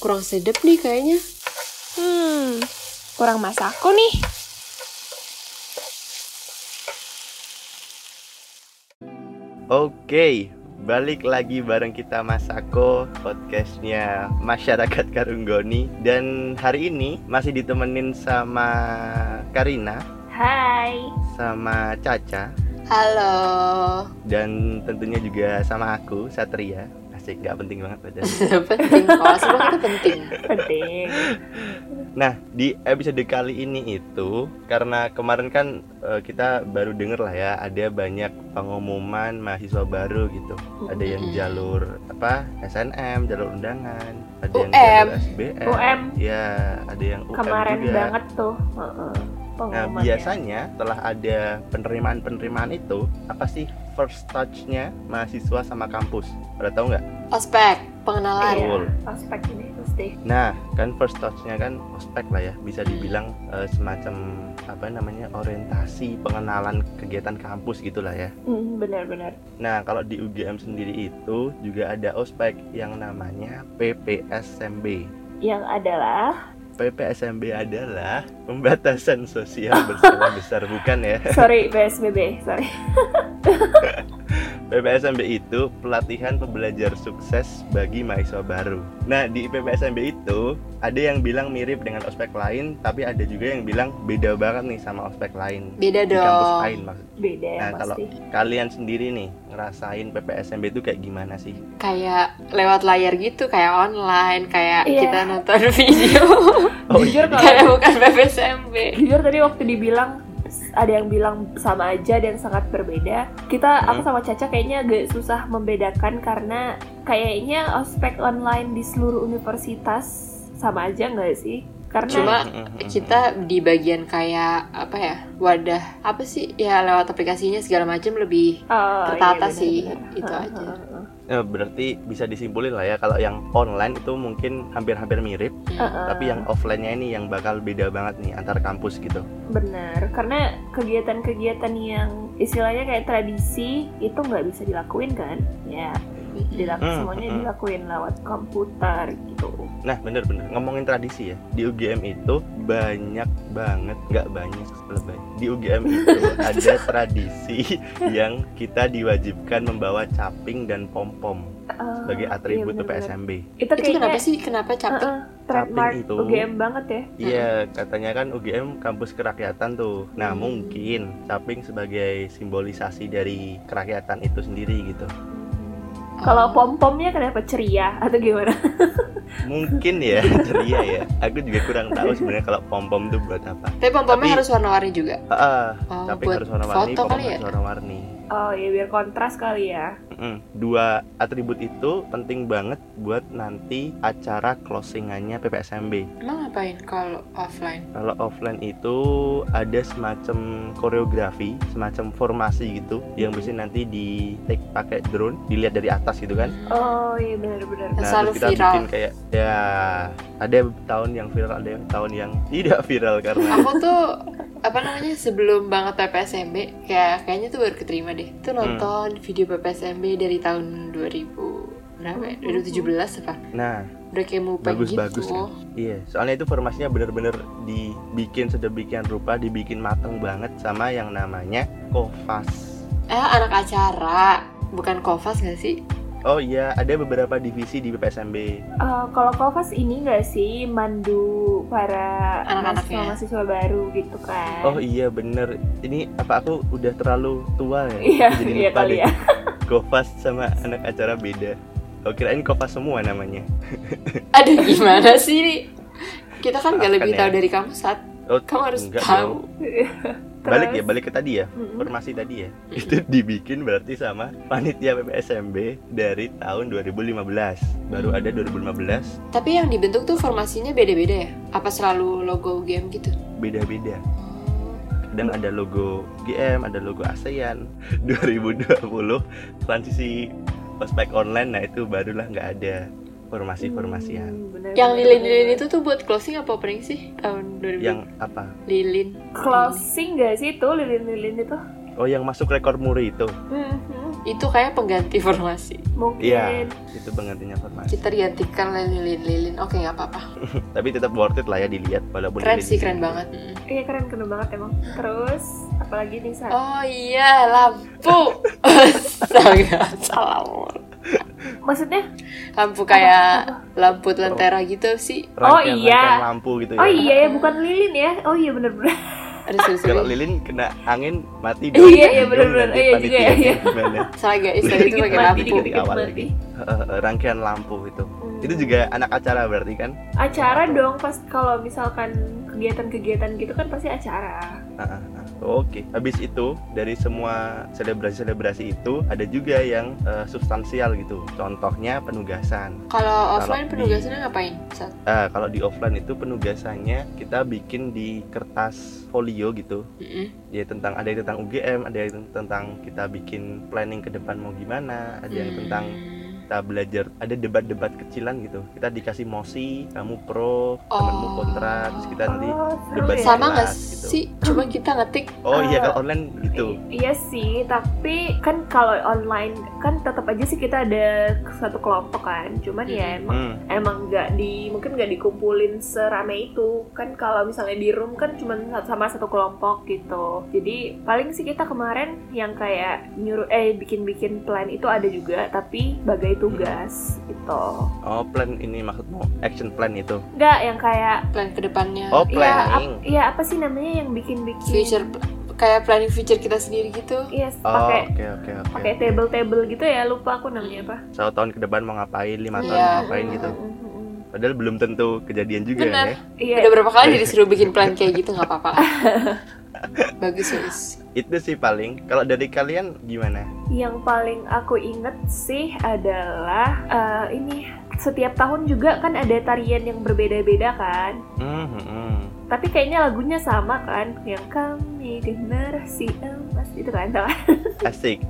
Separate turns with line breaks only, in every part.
Kurang sedap nih kayaknya.
Hmm, kurang masakku nih.
Oke, balik lagi bareng kita Masako podcastnya masyarakat Karunggoni dan hari ini masih ditemenin sama Karina
Hai,
sama Caca
Halo.
dan tentunya juga sama aku Satria asik nggak penting banget padahal
penting kalau semua itu penting.
penting.
Nah, di episode kali ini itu karena kemarin kan eh, kita baru denger lah ya ada banyak pengumuman mahasiswa baru gitu. Ada yang
Mm-mm.
jalur apa? SNM, jalur undangan, ada yang
UM.
jalur SBM.
UM.
Ya, ada yang UM
Kemarin
juga.
banget tuh. heeh,
Nah,
pengumumannya.
biasanya setelah ada penerimaan-penerimaan itu, apa sih first touch-nya mahasiswa sama kampus? Pada tahu nggak?
Ospek, pengenalan.
Iya.
Betul.
Ospek ini mesti.
Nah, kan first touch-nya kan ospek lah ya, bisa dibilang eh, semacam apa namanya orientasi pengenalan kegiatan kampus gitulah ya.
Hmm, benar-benar.
Nah, kalau di UGM sendiri itu juga ada ospek yang namanya PPSMB.
Yang adalah
PPSMB adalah pembatasan sosial berskala besar bukan ya?
sorry PSBB, sorry.
PPSMB itu pelatihan pembelajar sukses bagi mahasiswa baru. Nah, di PPSMB itu ada yang bilang mirip dengan ospek lain, tapi ada juga yang bilang beda banget nih sama ospek lain.
Beda
Di kampus
dong.
lain maksudnya.
Beda ya
Nah, kalau
pasti.
kalian sendiri nih ngerasain PPSMB itu kayak gimana sih?
Kayak lewat layar gitu, kayak online, kayak
Iya.
kita nonton video.
Jujur
iya.
kalau-
kayak bukan PPSMB.
Jujur tadi waktu dibilang ada yang bilang sama aja dan sangat berbeda. Kita aku
Hmm.
sama Caca kayaknya agak susah membedakan karena kayaknya ospek online di seluruh universitas sama aja nggak sih? Karena
Cuma
Mm-mm.
kita di bagian kayak apa ya wadah apa sih ya lewat aplikasinya segala macam lebih
Oh,
tertata
iya,
sih
benar-benar.
itu
Heeh,
aja.
heeh, heeh.
Eh, berarti bisa disimpulin lah ya kalau yang online itu mungkin hampir-hampir mirip,
Heeh.
tapi yang offline-nya ini yang bakal beda banget nih antar kampus gitu.
Benar, karena kegiatan-kegiatan yang istilahnya kayak tradisi itu nggak bisa dilakuin kan? Ya,
Iya.
dilak-
Hmm,
semuanya
hmm.
dilakuin lewat komputer gitu.
Nah bener-bener ngomongin tradisi ya di UGM itu banyak banget nggak banyak lebay di UGM itu ada tradisi yang kita diwajibkan membawa caping dan pom pom
Ah,
sebagai
iya,
atribut
benar-benar.
PPSMB.
Itu
Itu kenapa
kayaknya
sih Oh. kenapa capek?
Heeh, trademark
Caping itu.
UGM banget ya.
Iya katanya kan UGM kampus kerakyatan tuh. Nah
Hmm.
mungkin caping sebagai simbolisasi dari kerakyatan itu sendiri gitu.
Kalau pom-pomnya kenapa ceria atau gimana?
Mungkin ya ceria ya. Aku juga kurang tahu sebenarnya kalau pom pom tuh buat apa.
tapi pom-pomnya
Tapi-
harus warna-warni juga.
Ah,
Oh,
caping
buat
harus warna-warni,
foto
pom
kali ya?
harus warna-warni.
Oh ya biar kontras kali ya.
Mm, Dua atribut itu penting banget buat nanti acara closingannya PPSMB.
Emang ngapain kalau offline?
Kalau offline itu ada semacam koreografi, semacam formasi gitu yang bisa nanti di take pakai drone, dilihat dari atas gitu kan.
Oh iya benar-benar.
Yang
Nah,
selalu
terus kita
viral.
bikin kayak ya ada tahun yang viral, ada yang tahun yang tidak viral karena
Aku tuh apa namanya sebelum banget PPSMB kayak ya kayaknya tuh baru keterima deh. Tuh
Hmm.
nonton video PPSMB dari tahun 2000 berapa ya? 2017 apa?
nah
Udah kayak mupeng gitu.
Bagus-bagus kan? Iya, soalnya itu formasinya bener-bener dibikin sedemikian rupa, dibikin mateng banget sama yang namanya Kovas.
Eh anak acara bukan Kovas gak sih?
Oh iya, ada beberapa divisi di PPSMB.
Eh, kalau Kovas ini nggak sih mandu para
Anak-anaknya.
mahasiswa mahasiswa baru gitu kan?
Oh iya bener, ini apa aku udah terlalu tua
Iya,
ya? Aku Jadi
iya
lupa
kali
deh.
ya.
Kovas sama anak acara beda. Oh kirain Kovas semua namanya.
Aduh gimana sih? Kita kan
Maafkan
gak lebih
ya.
tahu dari kamu saat
Oh,
kamu harus
enggak
tahu.
dong. Balik ya, balik ke tadi ya.
Mm-mm.
Formasi tadi ya. Itu dibikin berarti sama panitia PPSMB dari tahun 2015. Baru ada 2015,
Tapi yang dibentuk tuh formasinya beda-beda ya? Apa selalu logo UGM gitu?
beda-beda. Kadang ada logo GM, ada logo ASEAN. 2020 transisi ospek online, nah itu barulah nggak ada formasi-formasian.
Hmm, benar,
Yang
benar,
lilin-lilin
benar.
itu tuh buat closing apa opening sih? Tahun 2000
Yang apa?
lilin.
closing gak sih itu lilin-lilin itu?
Oh, yang masuk rekor muri itu.
Mhm.
Mm-hmm.
Itu kayak pengganti formasi.
Mungkin.
Iya, itu penggantinya formasi.
Kita digantikan lilin-lilin. Oke, nggak apa-apa.
Tapi tetap worth it lah ya dilihat walaupun
Keren
ini
sih,
di-
keren banget. Mm.
Iya keren keren banget emang. Terus apalagi nih Sa?
Oh iya, lampu. Astaga, salah mulu.
Maksudnya?
Lampu kayak lampu lentera gitu sih.
Oh,
Rangkaian-
iya.
rangkaian lampu gitu ya.
Oh iya ya bukan lilin ya. Oh iya bener-bener.
Aduh, sorry, sorry.
Kalau Ah, lilin kena angin mati
Iya,
dong.
iya,
Bingung
bener-bener.
nanti
Iya juga ya,
panitianya
iya.
gimana.
Salah guys, tadi
gitu,
itu
Dikit
pakai
mati,
lampu.
dikit
Dari awal
mati.
lagi. Eh, eh, rangkaian lampu itu. Itu juga anak acara berarti kan?
Hmm. Acara dong pas kalau misalkan kegiatan-kegiatan gitu kan pasti acara.
Ah, ah, ah. Oke, habis itu dari semua selebrasi-selebrasi itu ada juga yang eh, substansial gitu. Contohnya penugasan.
Kalau offline
di-
penugasannya ngapain? Sat?
Ah, kalau di offline itu penugasannya kita bikin di kertas folio gitu.
Mm-mm.
Ya tentang ada yang tentang UGM, ada yang tentang kita bikin planning ke depan mau gimana, ada yang tentang
Hmm.
kita belajar ada debat-debat kecilan gitu. Kita dikasih mosi, kamu pro, temanmu
Oh.
kontra, terus kita nanti
oh, seru
Kan debat
ya.
sama nggak
kelas gitu.
sih? Cuma kita ngetik.
Oh iya
Ah.
kalau online gitu.
I- Iya sih, tapi kan kalau online kan tetap aja sih kita ada satu kelompok kan. Cuman ya
Mm.
emang
Hmm.
emang nggak di mungkin nggak dikumpulin serame itu kan kalau misalnya di room kan cuma sama satu kelompok gitu jadi paling sih kita kemarin yang kayak nyuruh eh bikin-bikin plan itu ada juga tapi bagai
Hmm.
tugas gitu
Oh, plan ini maksudmu action plan itu.
nggak yang kayak
Plan ke depannya.
Oh,
Iya,
planning.
ap- Iya, apa sih namanya yang bikin-bikin
Future kayak planning future kita sendiri gitu.
Yes,
Oh,
pakai
oke oke oke.
pakai table-table gitu ya, lupa aku namanya apa.
Satu tahun ke depan mau ngapain, lima tahun
Iya.
mau ngapain gitu. Padahal belum tentu kejadian juga
Benar.
ya.
Iya.
Udah berapa kali disuruh bikin plan kayak gitu nggak apa-apa. Bagus bagus.
Itu sih paling. Kalau dari kalian gimana?
Yang paling aku inget sih adalah eh, ini setiap tahun juga kan ada tarian yang berbeda-beda kan.
Hmm, hmm, hmm.
Mm-hmm.
Tapi kayaknya lagunya sama kan, yang kami generasi emas itu kan. tau kan?
Asik. Eh,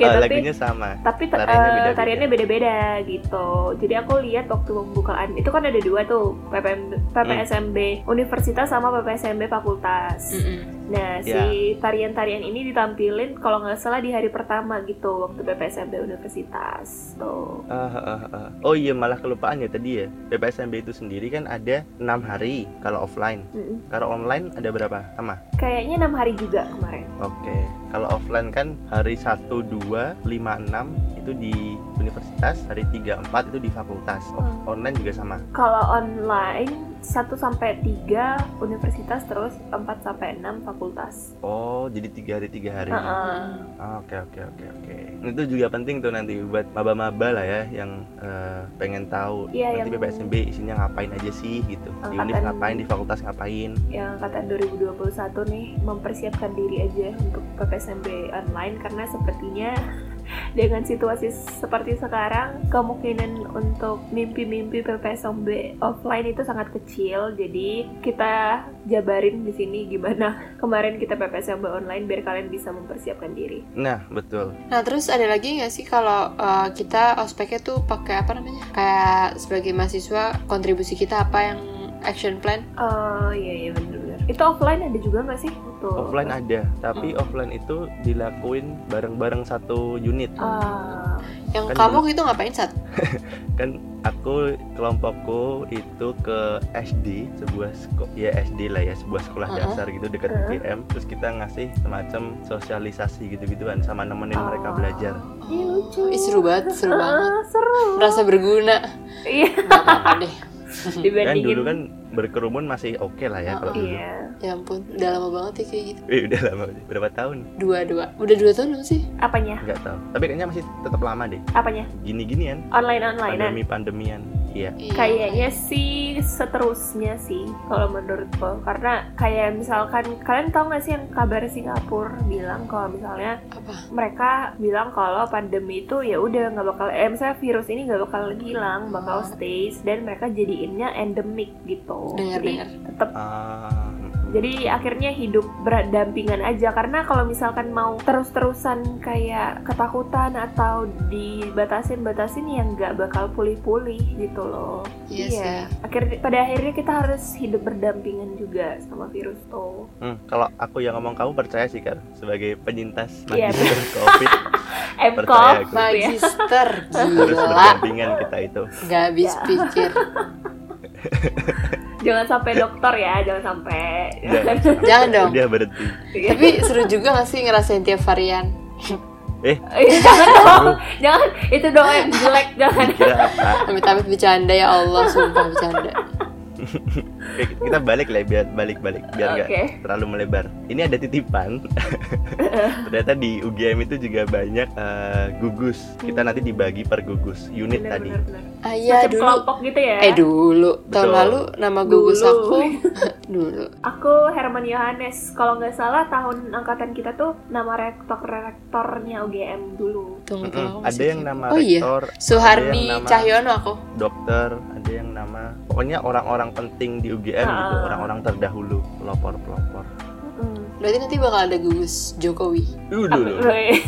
Iya,
eh,
tapi-
lagunya sama.
Tapi ter-
Tariannya
eh,
beda-beda.
tariannya beda-beda gitu. Jadi aku lihat waktu pembukaan itu kan ada dua tuh PPM,
Hmm.
PPSMB Universitas sama PPSMB Fakultas.
Mm-mm.
Nah,
Ya.
si tarian-tarian ini ditampilin kalau nggak salah di hari pertama gitu waktu PPSMB Universitas. Tuh.
Ah, ah, ah. Oh iya malah kelupaan ya tadi ya. PPSMB itu sendiri kan ada enam hari kalau offline.
Mm-mm.
Kalau online ada berapa? Sama.
Kayaknya enam hari juga kemarin.
Oke. Kalau offline kan hari 1 2 5 6 itu di universitas, hari 3 4 itu di fakultas.
Hmm.
Online juga sama.
Kalau online 1 sampai 3 universitas terus 4 sampai 6 fakultas.
Oh, jadi tiga hari tiga hari.
Heeh.
Ah, Oke oke oke oke. Itu juga penting tuh nanti buat maba-maba lah ya yang eh, pengen tahu
Iya,
nanti
yang-
PPSMB isinya ngapain aja sih gitu. Di univ
Angkatan-
ngapain, di fakultas ngapain.
Yang angkatan 2021 nih mempersiapkan diri aja untuk PPSMB online karena sepertinya dengan situasi seperti sekarang kemungkinan untuk mimpi-mimpi PPSMB offline itu sangat kecil jadi kita jabarin di sini gimana kemarin kita PPSMB online biar kalian bisa mempersiapkan diri
Nah, betul.
Nah terus ada lagi nggak sih kalau uh, kita ospeknya tuh pakai apa namanya? Kayak sebagai mahasiswa kontribusi kita apa yang action plan?
oh iya iya bener-bener itu offline ada juga nggak sih Tuh.
Offline ada, tapi
Oh.
offline itu dilakuin bareng-bareng satu unit.
Ah,
Yang
Kan
kamu itu ngapain saat?
kan aku kelompokku itu ke SD sebuah seko- ya SD lah ya sebuah sekolah
Mm-mm.
dasar gitu dekat
Mm.
UGM terus kita ngasih semacam sosialisasi gitu-gituan sama nemenin mereka
Ah.
belajar
Ih, lucu
Ih, seru banget, seru banget.
Ah, seru
Merasa berguna.
iya
Nggak apa-apa deh.
kan
dibandingin
dulu kan berkerumun masih oke lah ya kalau dulu
iya
Ya ampun, udah lama banget ya kayak gitu.
Wih, udah lama berapa tahun
Dua-dua. Udah dua tahun belum sih?
apanya
nggak tahu tapi kayaknya masih tetap lama deh
apanya
gini-ginian
online onlinean
pandemi pandemian iya
Iya.
kayaknya sih seterusnya sih kalau menurutku karena kayak misalkan kalian tahu nggak sih yang kabar Singapura bilang kalau misalnya
Apa?
mereka bilang kalau pandemi itu ya udah nggak bakal eh misalnya virus ini nggak bakal hilang bakal stays dan mereka jadiinnya endemic gitu
Dengar-dengar.
jadi tetap
Ah, mm,
Jadi akhirnya hidup berdampingan aja karena kalau misalkan mau terus-terusan kayak ketakutan atau dibatasin-batasin ya nggak bakal pulih-pulih gitu loh.
Iya
iya.
sih.
Akhir pada akhirnya kita harus hidup berdampingan juga sama virus tuh.
Hmm, kalau aku yang ngomong kamu percaya sih kan sebagai penyintas
Iya,
magister covid percaya
MCOV
aku
Magister
harus
gila,
berdampingan kita itu.
nggak habis
Ya.
pikir.
jangan sampai dokter ya, jangan sampai.
Iya, Jangan,
Jangan Iya dong.
Udah berhenti.
Tapi seru juga nggak sih ngerasain tiap varian?
Eh,
Iya, jangan dong, jangan itu doa yang jelek jangan.
Kira apa?
Amit-amit bercanda ya Allah, sumpah bercanda.
Oke, kita balik lah biar balik-balik biar nggak
Oke.
terlalu melebar. Ini ada titipan. Ternyata di UGM itu juga banyak eh, gugus. Kita nanti dibagi per gugus unit
Hmm. Bener,
tadi.
bener, bener.
Ah
Macam
iya dulu.
kelompok gitu ya.
Eh dulu, tahun
Betul.
lalu nama gugus
Dulu.
aku dulu.
Aku Herman Yohanes. Kalau nggak salah tahun angkatan kita tuh nama rektor rektornya UGM dulu.
Tunggu
Mm-mm.
tunggu. aku
Ada
masih
yang
ingat.
nama
Oh iya.
rektor,
Suhardi
Ada yang nama-
Cahyono aku.
dokter, ada yang nama pokoknya orang-orang penting di UGM gitu,
Ah.
orang-orang terdahulu, pelopor-pelopor.
Mm.
Berarti nanti bakal ada gugus Jokowi.
Dulu dulu.
Woi.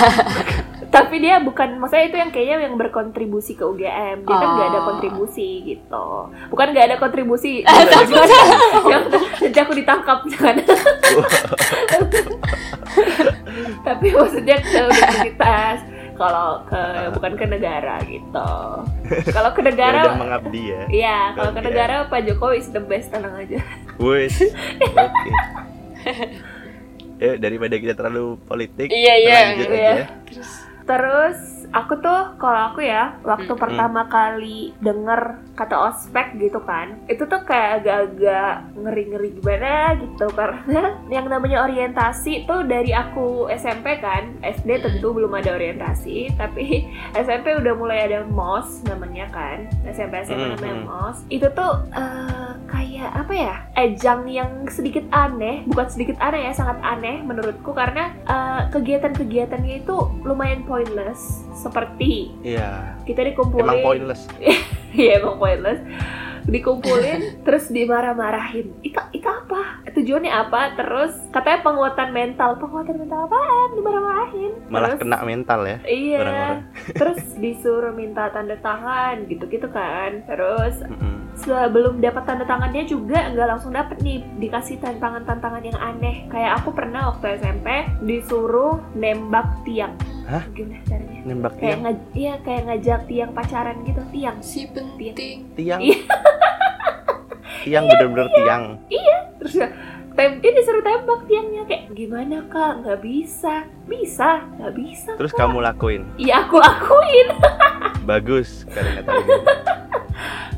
Tapi dia bukan, maksudnya itu yang kayaknya yang berkontribusi ke UGM. Dia kan nggak ada
Ah.
kontribusi gitu. Bukan nggak ada kontribusi.
Tapi-
Jangan, nanti aku ditangkap jangan. Tapi maksudnya ke universitas. Kalau ke bukan ke negara gitu. Kalau ke
Ya
negara
udah mengabdi ya.
Iya, kalau ke
Oke.
negara Pak Jokowi is the best tenang aja.
Wes. Oke. Eh daripada kita terlalu politik,
Iya, iya,
lanjut
iya.
aja.
Terus aku tuh kalau aku ya waktu
Mm-mm.
pertama kali denger kata ospek gitu kan, itu tuh kayak agak-agak ngeri-ngeri gimana gitu karena yang namanya orientasi tuh dari aku SMP kan, SD tentu belum ada orientasi, tapi SMP udah mulai ada mos namanya kan, SMP
Mm-mm.
SMP namanya mos. Itu tuh eh, kayak apa ya? Ajang yang sedikit aneh, bukan sedikit aneh ya, sangat aneh menurutku karena eh, kegiatan-kegiatannya itu lumayan pointless seperti
Iya.
kita dikumpulin
Emang pointless.
Iya emang pointless dikumpulin terus dimarah-marahin itu itu apa tujuannya apa terus katanya penguatan mental penguatan mental apaan dimarah-marahin
Malah
Terus-
kena mental ya.
iya
orang-orang.
terus disuruh minta tanda tangan gitu gitu kan terus
Mm-mm.
sebelum dapat tanda tangannya juga nggak langsung dapat nih dikasih tantangan-tantangan yang aneh kayak aku pernah waktu SMP disuruh nembak tiang
Hah?
gimana caranya
Nembak
kayak
tiang.
ngaj- iya kayak ngajak tiang pacaran gitu tiang
Si penting.
Tiang.
Iya.
tiang bener-bener tiang.
terus dia- tem dia disuruh tembak tiangnya kayak gimana kak nggak bisa bisa nggak bisa
Terus kamu lakuin.
iya aku akuin
Bagus kalian kata gitu.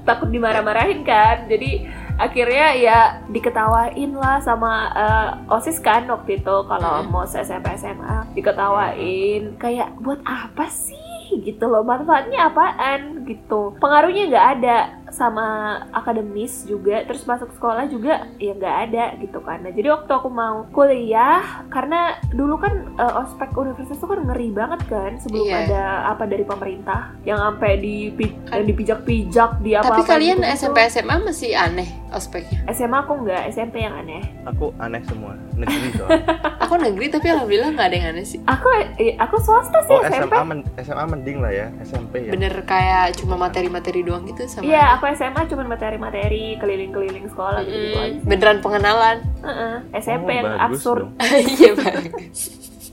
takut dimarah-marahin kan jadi akhirnya ya diketawain lah sama eh, osis kan waktu itu kalau
Hmm.
mau SMP SMA diketawain kayak buat apa sih gitu loh manfaatnya apaan gitu pengaruhnya nggak ada sama akademis juga terus masuk sekolah juga ya nggak ada gitu kan Nah, jadi waktu aku mau kuliah karena dulu kan eh, ospek universitas tuh kan ngeri banget kan sebelum
Iya.
ada apa dari pemerintah yang sampai di yang dipijak-pijak di apa
Kan.
gitu?
Tapi kalian SMP SMA masih aneh ospeknya.
SMA aku nggak SMP yang aneh
Aku aneh semua. Negeri soalnya.
Aku negeri tapi alhamdulillah nggak ada yang aneh sih.
aku eh, aku swasta sih
Oh
SMP
SMA men- SMA mending lah ya. SMP ya.
Bener kayak cuma materi-materi doang gitu sama.
Iya, aku SMA cuman materi-materi keliling-keliling sekolah gitu, -gitu
Mm, beneran pengenalan.
SMP
Oh,
yang
bagus
absurd.
dong.
Iya bagus.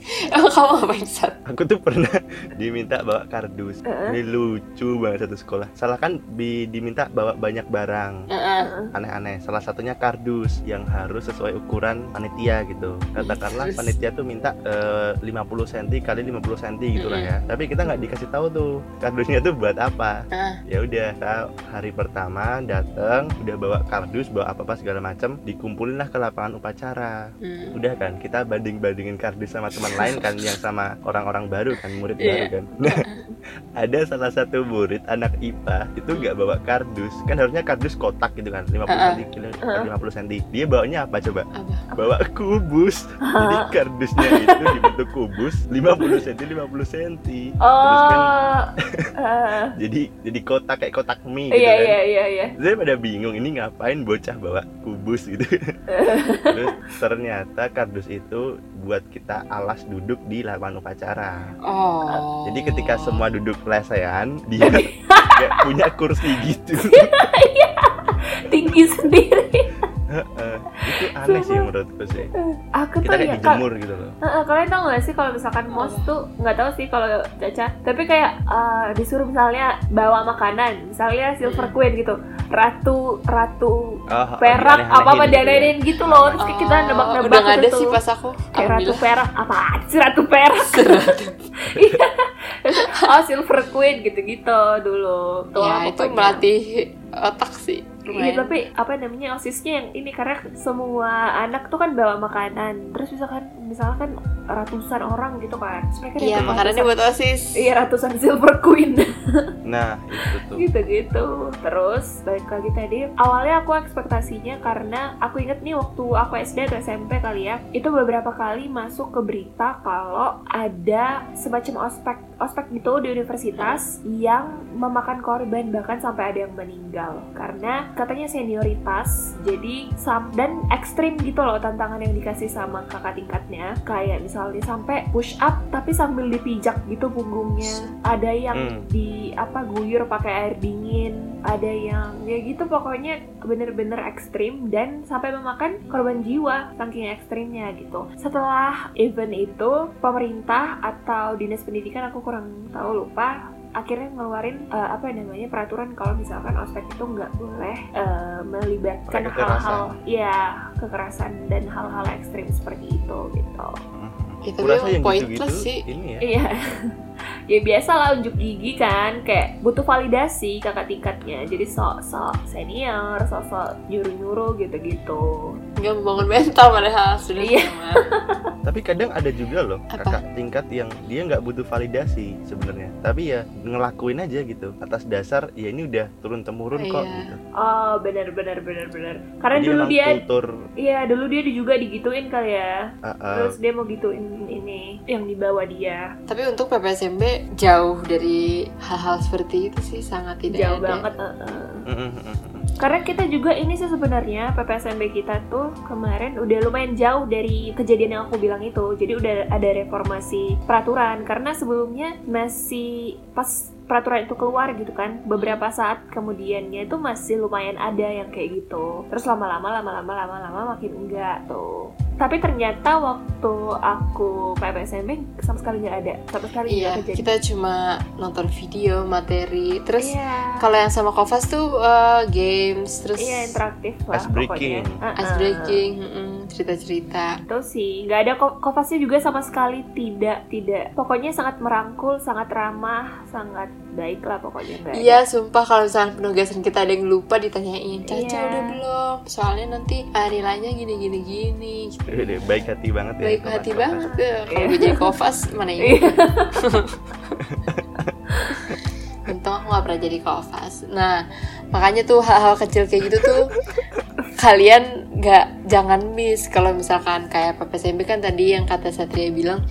Emang kamu ngapain sat?
Aku tuh pernah diminta bawa kardus.
Heeh.
Ini lucu banget satu sekolah. Salah kan bi- diminta bawa banyak barang
Heeh.
aneh-aneh. Salah satunya kardus yang harus sesuai ukuran panitia gitu. Katakanlah
Terus?
panitia tuh minta eh, 50 cm kali 50 cm gitu lah ya. Tapi kita nggak dikasih tahu tuh kardusnya tuh buat apa.
Heeh.
Ya udah, kita hari pertama datang udah bawa kardus, bawa apa-apa segala macam, dikumpulin lah ke lapangan upacara.
Hmm.
udah kan kita banding bandingin kardus sama teman lain kan yang sama orang-orang baru kan murid baru
Iya.
kan nah ada salah satu murid anak IPA itu nggak bawa kardus kan harusnya kardus kotak gitu kan 50
Heeh.
cm kilo- eh, 50 cm dia bawanya apa coba
Apa?
bawa kubus jadi kardusnya itu dibentuk kubus 50 cm 50 cm
Oh,
kan
eh,
jadi jadi kotak kayak kotak mie gitu
Iya
kan
iya iya iya.
saya pada bingung ini ngapain bocah bawa kubus gitu terus ternyata kardus itu buat kita alas duduk di lapangan upacara
Oh.
jadi ketika semua duduk lesehan dia kayak punya kursi gitu
Iya.
Tinggi sendiri.
Heeh. itu aneh sih menurutku sih
Aku
kita
tuh ya
kayak
kal-
dijemur gitu loh
Heeh, kalian tau gak sih kalau misalkan mos tuh nggak tahu sih kalau Caca tapi kayak eh, disuruh misalnya bawa makanan misalnya silver queen gitu ratu ratu
Oh,
perak
dianeh-anehin
apa apa
gitu ya.
dianenin gitu loh terus kayak kita
Oh,
nebak-nebak
udah nggak ada
gitu
sih pas aku
kayak gitu. ratu
Alhamdulillah.
perak apa sih ratu perak Iya. oh silver queen gitu-gitu dulu tuh
ya itu melatih otak sih lumayan.
Iya tapi apa namanya osisnya yang ini karena semua anak tuh kan bawa makanan terus misalkan misalkan ratusan orang gitu kan Terus mereka
Iya,
dapat
makanannya
ratusan-
buat osis.
iya ratusan silver queen
nah itu tuh
gitu gitu terus balik lagi tadi awalnya aku ekspektasinya karena aku inget nih waktu aku SD atau SMP kali ya itu beberapa kali masuk ke berita kalau ada semacam ospek ospek gitu di universitas yang memakan korban bahkan sampai ada yang meninggal karena katanya senioritas jadi sam dan ekstrim gitu loh tantangan yang dikasih sama kakak tingkatnya kayak misalnya sampai push up tapi sambil dipijak gitu punggungnya ada yang
Hmm.
di apa guyur pakai air dingin ada yang ya gitu pokoknya bener-bener ekstrim dan sampai memakan korban jiwa saking ekstrimnya gitu setelah event itu pemerintah atau dinas pendidikan aku kurang tahu lupa akhirnya ngeluarin eh, apa namanya peraturan kalau misalkan ospek itu nggak boleh eh, melibatkan
Pakai kekerasan.
hal-hal ya kekerasan dan hal-hal ekstrim seperti itu gitu
Ya, tapi
kurasa
emang
yang gitu-gitu
pointless sih.
ini ya
Iya. ya biasa lah unjuk gigi kan kayak butuh validasi kakak tingkatnya jadi sok-sok senior sok-sok nyuruh-nyuruh gitu-gitu
Nggak membangun mental padahal sudah
Iya.
lama.
tapi kadang ada juga loh
Apa?
kakak tingkat yang dia nggak butuh validasi sebenarnya tapi ya ngelakuin aja gitu atas dasar ya ini udah turun temurun kok
Iya.
gitu
oh benar benar benar benar karena
Jadi
dulu
memang
dia
kultur
iya dulu dia juga digituin kali ya
uh, uh,
terus dia mau gituin ini yang dibawa dia
Tapi untuk PPSMB jauh dari hal-hal seperti itu sih sangat tidak
jauh
ada.
banget uh-uh.
mm, mm, mm, mm.
Karena kita juga ini sih sebenarnya PPSMB kita tuh kemarin udah lumayan jauh dari kejadian yang aku bilang itu. Jadi udah ada reformasi peraturan karena sebelumnya masih pas peraturan itu keluar gitu kan beberapa saat kemudiannya itu masih lumayan ada yang kayak gitu terus lama-lama lama-lama lama-lama makin enggak tuh tapi ternyata waktu aku PPSMB sama sekali nggak ada sama sekali nggak
Iya,
kejadian
kita cuma nonton video, materi, terus
iya
kalau yang sama Kovas tuh eh, games, terus
iya interaktif lah
Ice breaking.
pokoknya.
ice
Uh-uh.
breaking, mm-mm, cerita-cerita.
itu sih nggak ada ko- Kovasnya juga sama sekali tidak tidak pokoknya sangat merangkul sangat ramah sangat baik lah pokoknya nggak ada.
Iya, sumpah kalau misalnya penugasan kita ada yang lupa ditanyain, Caca
Iya.
udah belum? Soalnya nanti ah, nilainya gini gini gini. gitu.
Udah, udah, baik hati banget ya
Baik
sama
hati
kakak.
banget tuh. Kalau
Iya.
gue jadi Kovas mana ini?
Iya.
Untung aku gak pernah jadi Kovas. Nah, makanya tuh hal-hal kecil kayak gitu tuh kalian nggak jangan miss kalau misalkan kayak PPSMB kan tadi yang kata Satria bilang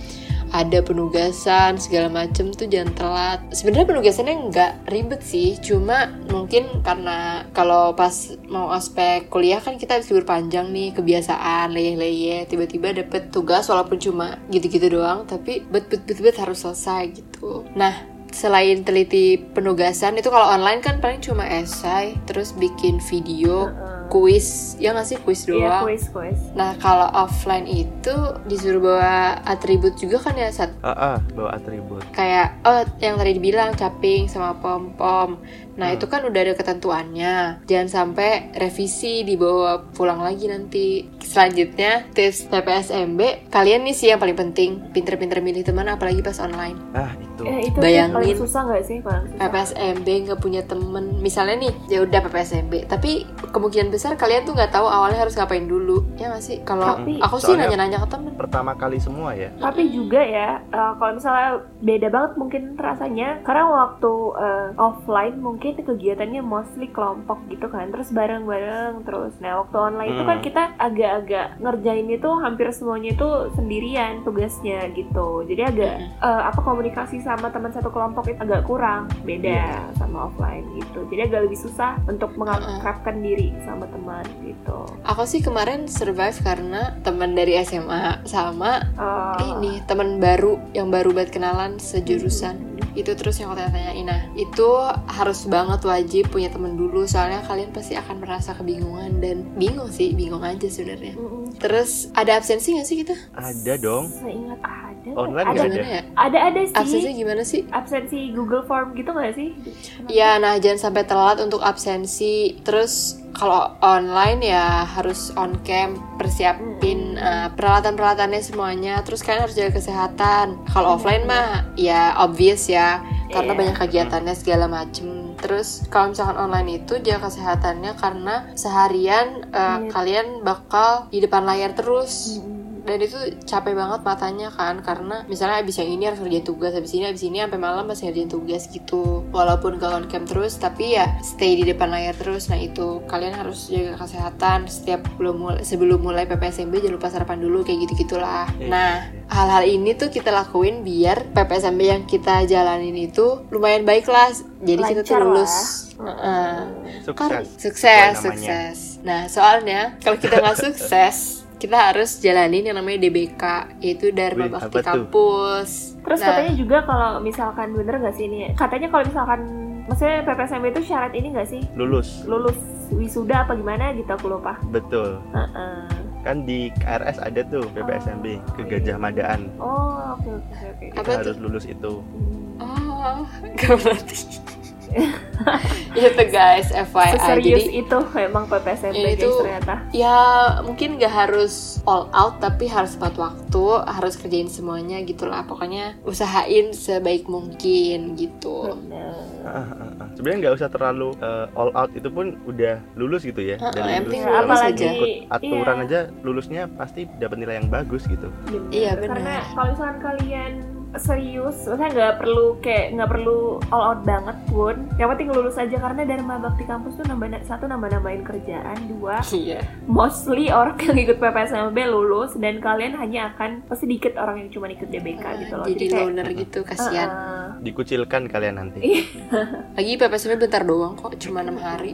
ada penugasan segala macem tuh jangan telat. Sebenarnya penugasannya nggak ribet sih, cuma mungkin karena kalau pas mau aspek kuliah kan kita habis libur panjang nih kebiasaan leyeh-leyeh tiba-tiba dapet tugas walaupun cuma gitu-gitu doang tapi bet bet bet, bet harus selesai gitu. Nah selain teliti penugasan itu kalau online kan paling cuma esai terus bikin video
Heeh.
kuis ya nggak sih kuis
Iya,
doang
kuis kuis
nah kalau offline itu disuruh bawa atribut juga kan ya saat
Ah, ah, bawa atribut
kayak oh yang tadi dibilang caping sama pom pom nah
Hmm.
itu kan udah ada ketentuannya jangan sampai revisi dibawa pulang lagi nanti selanjutnya tips TPSMB kalian nih sih yang paling penting pinter-pinter milih teman apalagi pas online
ah itu
Eh, itu
Bayangin.
sih paling susah nggak sih paling susah
PPSMB nggak punya temen misalnya nih ya udah PPSMB tapi kemungkinan besar kalian tuh nggak tahu awalnya harus ngapain dulu ya nggak sih kalau
Tapi-
aku sih
mm. Soalnya-
nanya-nanya ke temen
pertama kali semua ya
tapi juga ya eh, kalau misalnya beda banget mungkin rasanya karena waktu eh, offline mungkin kegiatannya mostly kelompok gitu kan terus bareng-bareng terus nah waktu online itu kan
Hmm.
kita agak-agak ngerjain itu hampir semuanya itu sendirian tugasnya gitu jadi agak
Mm.
eh, apa komunikasi sama teman satu kelompok itu agak kurang beda
Iya.
sama offline gitu jadi agak lebih susah untuk mengakrabkan diri sama teman gitu
Aku sih kemarin survive karena teman dari SMA sama
Eh,
ini teman baru yang baru banget kenalan sejurusan.
Hmm.
Itu terus yang aku tanya-tanyain nah, itu harus banget wajib punya teman dulu soalnya kalian pasti akan merasa kebingungan dan bingung sih, bingung aja sebenarnya.
Mm-mm.
Terus ada absensi nggak sih kita?
Ada dong.
Seingat ada.
Online
ada.
nggak
Gimana ya?
Ada ada
Absensi
sih.
gimana sih?
Absensi Google Form gitu nggak sih? Kenapa?
Ya, nah jangan sampai telat untuk absensi. Terus kalau online ya harus on cam,
Hmm.
persiapin eh, peralatan-peralatannya semuanya. Terus kalian harus jaga kesehatan. Kalau offline mah ya obvious ya, karena
Iya.
banyak kegiatannya segala macem. Terus kalau misalkan online itu jaga kesehatannya karena seharian eh,
Iya.
kalian bakal di depan layar terus
Mm-mm.
dan itu capek banget matanya kan karena misalnya abis yang ini harus ngerjain tugas abis ini abis ini sampai malam masih ngerjain tugas gitu walaupun gak on cam terus tapi ya stay di depan layar terus nah itu kalian harus jaga kesehatan setiap belum mul- sebelum mulai PPSMB jangan lupa sarapan dulu kayak gitu gitulah
Iya.
nah hal-hal ini tuh kita lakuin biar PPSMB yang kita jalanin itu lumayan baik lah jadi kita tuh
Lancar lah.
lulus Heeh.
Mm-mm.
Kan,
Sukses.
sukses,
Itu namanya.
sukses. Nah, soalnya kalau kita nggak sukses, kita harus jalanin yang namanya DBK, yaitu Dharma
Wih,
Bakti
apa tuh?
Kampus.
Terus
Nah,
katanya juga kalau misalkan bener nggak sih ini? Katanya kalau misalkan maksudnya PPSMB itu syarat ini nggak sih?
Lulus.
Lulus wisuda apa gimana gitu aku lupa.
Betul.
Heeh.
Kan di KRS ada tuh PPSMB ke Gajah Madaan.
Oh oke oke oke, oke.
Apa
Kita
tuh?
harus lulus itu.
Hmm.
Oh, nggak berarti. itu guys, FYI.
Seserius
ah, Jadi,
itu memang PPSMB
Ini
guys
tuh-
ternyata.
ya mungkin nggak harus all out, tapi harus buat waktu, harus kerjain semuanya gitu lah. Pokoknya usahain sebaik mungkin gitu.
Bener.
Ah, ah, ah. Sebenarnya nggak usah terlalu eh, all out itu pun udah lulus gitu ya.
Ah, ah, yang
lulus
penting
kalau
lulus
misalnya
aja.
ikut aturan
Iya.
aja lulusnya pasti dapat nilai yang bagus gitu.
Bener.
Iya, bener.
Karena kalau misalkan kalian serius, maksudnya nggak perlu kayak nggak perlu all out banget pun. Yang penting lulus aja karena Dharma Bakti kampus tuh nambah satu nambah nambahin kerjaan, dua
Iya.
mostly orang yang ikut PPSMB lulus dan kalian hanya akan sedikit orang yang cuma ikut DBK gitu loh.
Hmm, Jadi
kayak,
loner gitu, kasihan.
"Eh,
Dikucilkan kalian nanti.
Lagi PPSMB bentar doang kok, cuma enam hari.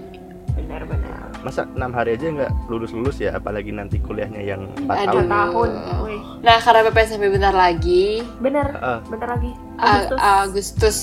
benar-benar
Masa enam hari aja nggak lulus-lulus ya, apalagi nanti kuliahnya yang 4
Aduh.
tahun. Ah,
tahun, wih,
Nah, karena PPSMB bentar lagi,
bener,
Heeh.
bentar lagi
A-
Agustus.
Agustus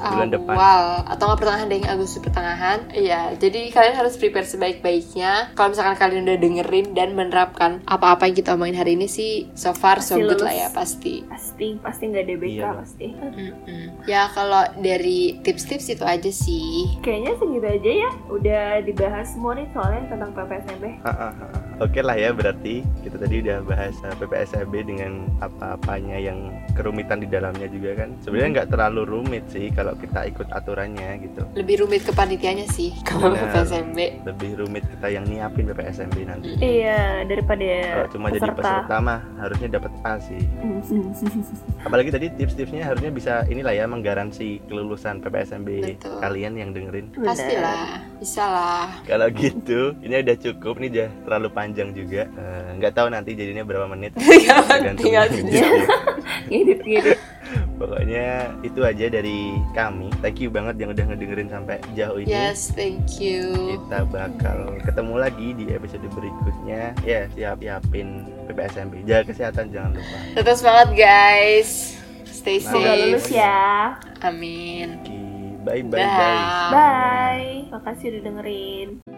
Bulan depan.
awal atau nggak pertengahan deh Agustus pertengahan Iya jadi kalian harus prepare sebaik-baiknya kalau misalkan kalian udah dengerin dan menerapkan apa-apa yang kita omongin hari ini sih so far so
Pasti
good
lulus.
lah ya pasti
pasti pasti nggak DBK
Iya.
pasti.
Mm-mm. ya kalau dari tips-tips itu aja sih
Kayaknya segitu aja ya. Udah dibahas semua nih soalnya tentang PPSMB.
Ah, ah, ah, ah. Oke lah ya berarti kita tadi udah bahas eh, PPSMB dengan apa-apanya yang kerumitan di dalamnya juga kan sebenarnya nggak terlalu rumit sih kalau kita ikut aturannya gitu
lebih rumit ke panitianya sih kalau
Benar.
PPSMB
lebih rumit kita yang nyiapin PPSMB nanti
Iya, daripada
kalau Eh, Oh, cuma jadi peserta mah harusnya dapat A sih apalagi tadi tips-tipsnya harusnya bisa inilah ya menggaransi kelulusan PPSMB
Betul.
kalian yang dengerin
pastilah bisa lah
kalau gitu ini udah cukup nih udah terlalu panjang juga Eh, nggak tahu nanti jadinya berapa menit
penting aja.
Ngedit-ngedit.
Pokoknya itu aja dari kami. Thank you banget yang udah ngedengerin sampai jauh ini.
yes thank you
Kita bakal ketemu lagi di episode berikutnya. Ya, siap-siapin PPSMB. Jaga kesehatan jangan lupa.
tetap semangat guys stay
Semoga
Safe.
lulus
safe
ya.
amin
Oke, Bye-bye guys.
Dah.
Bye. Makasih udah dengerin.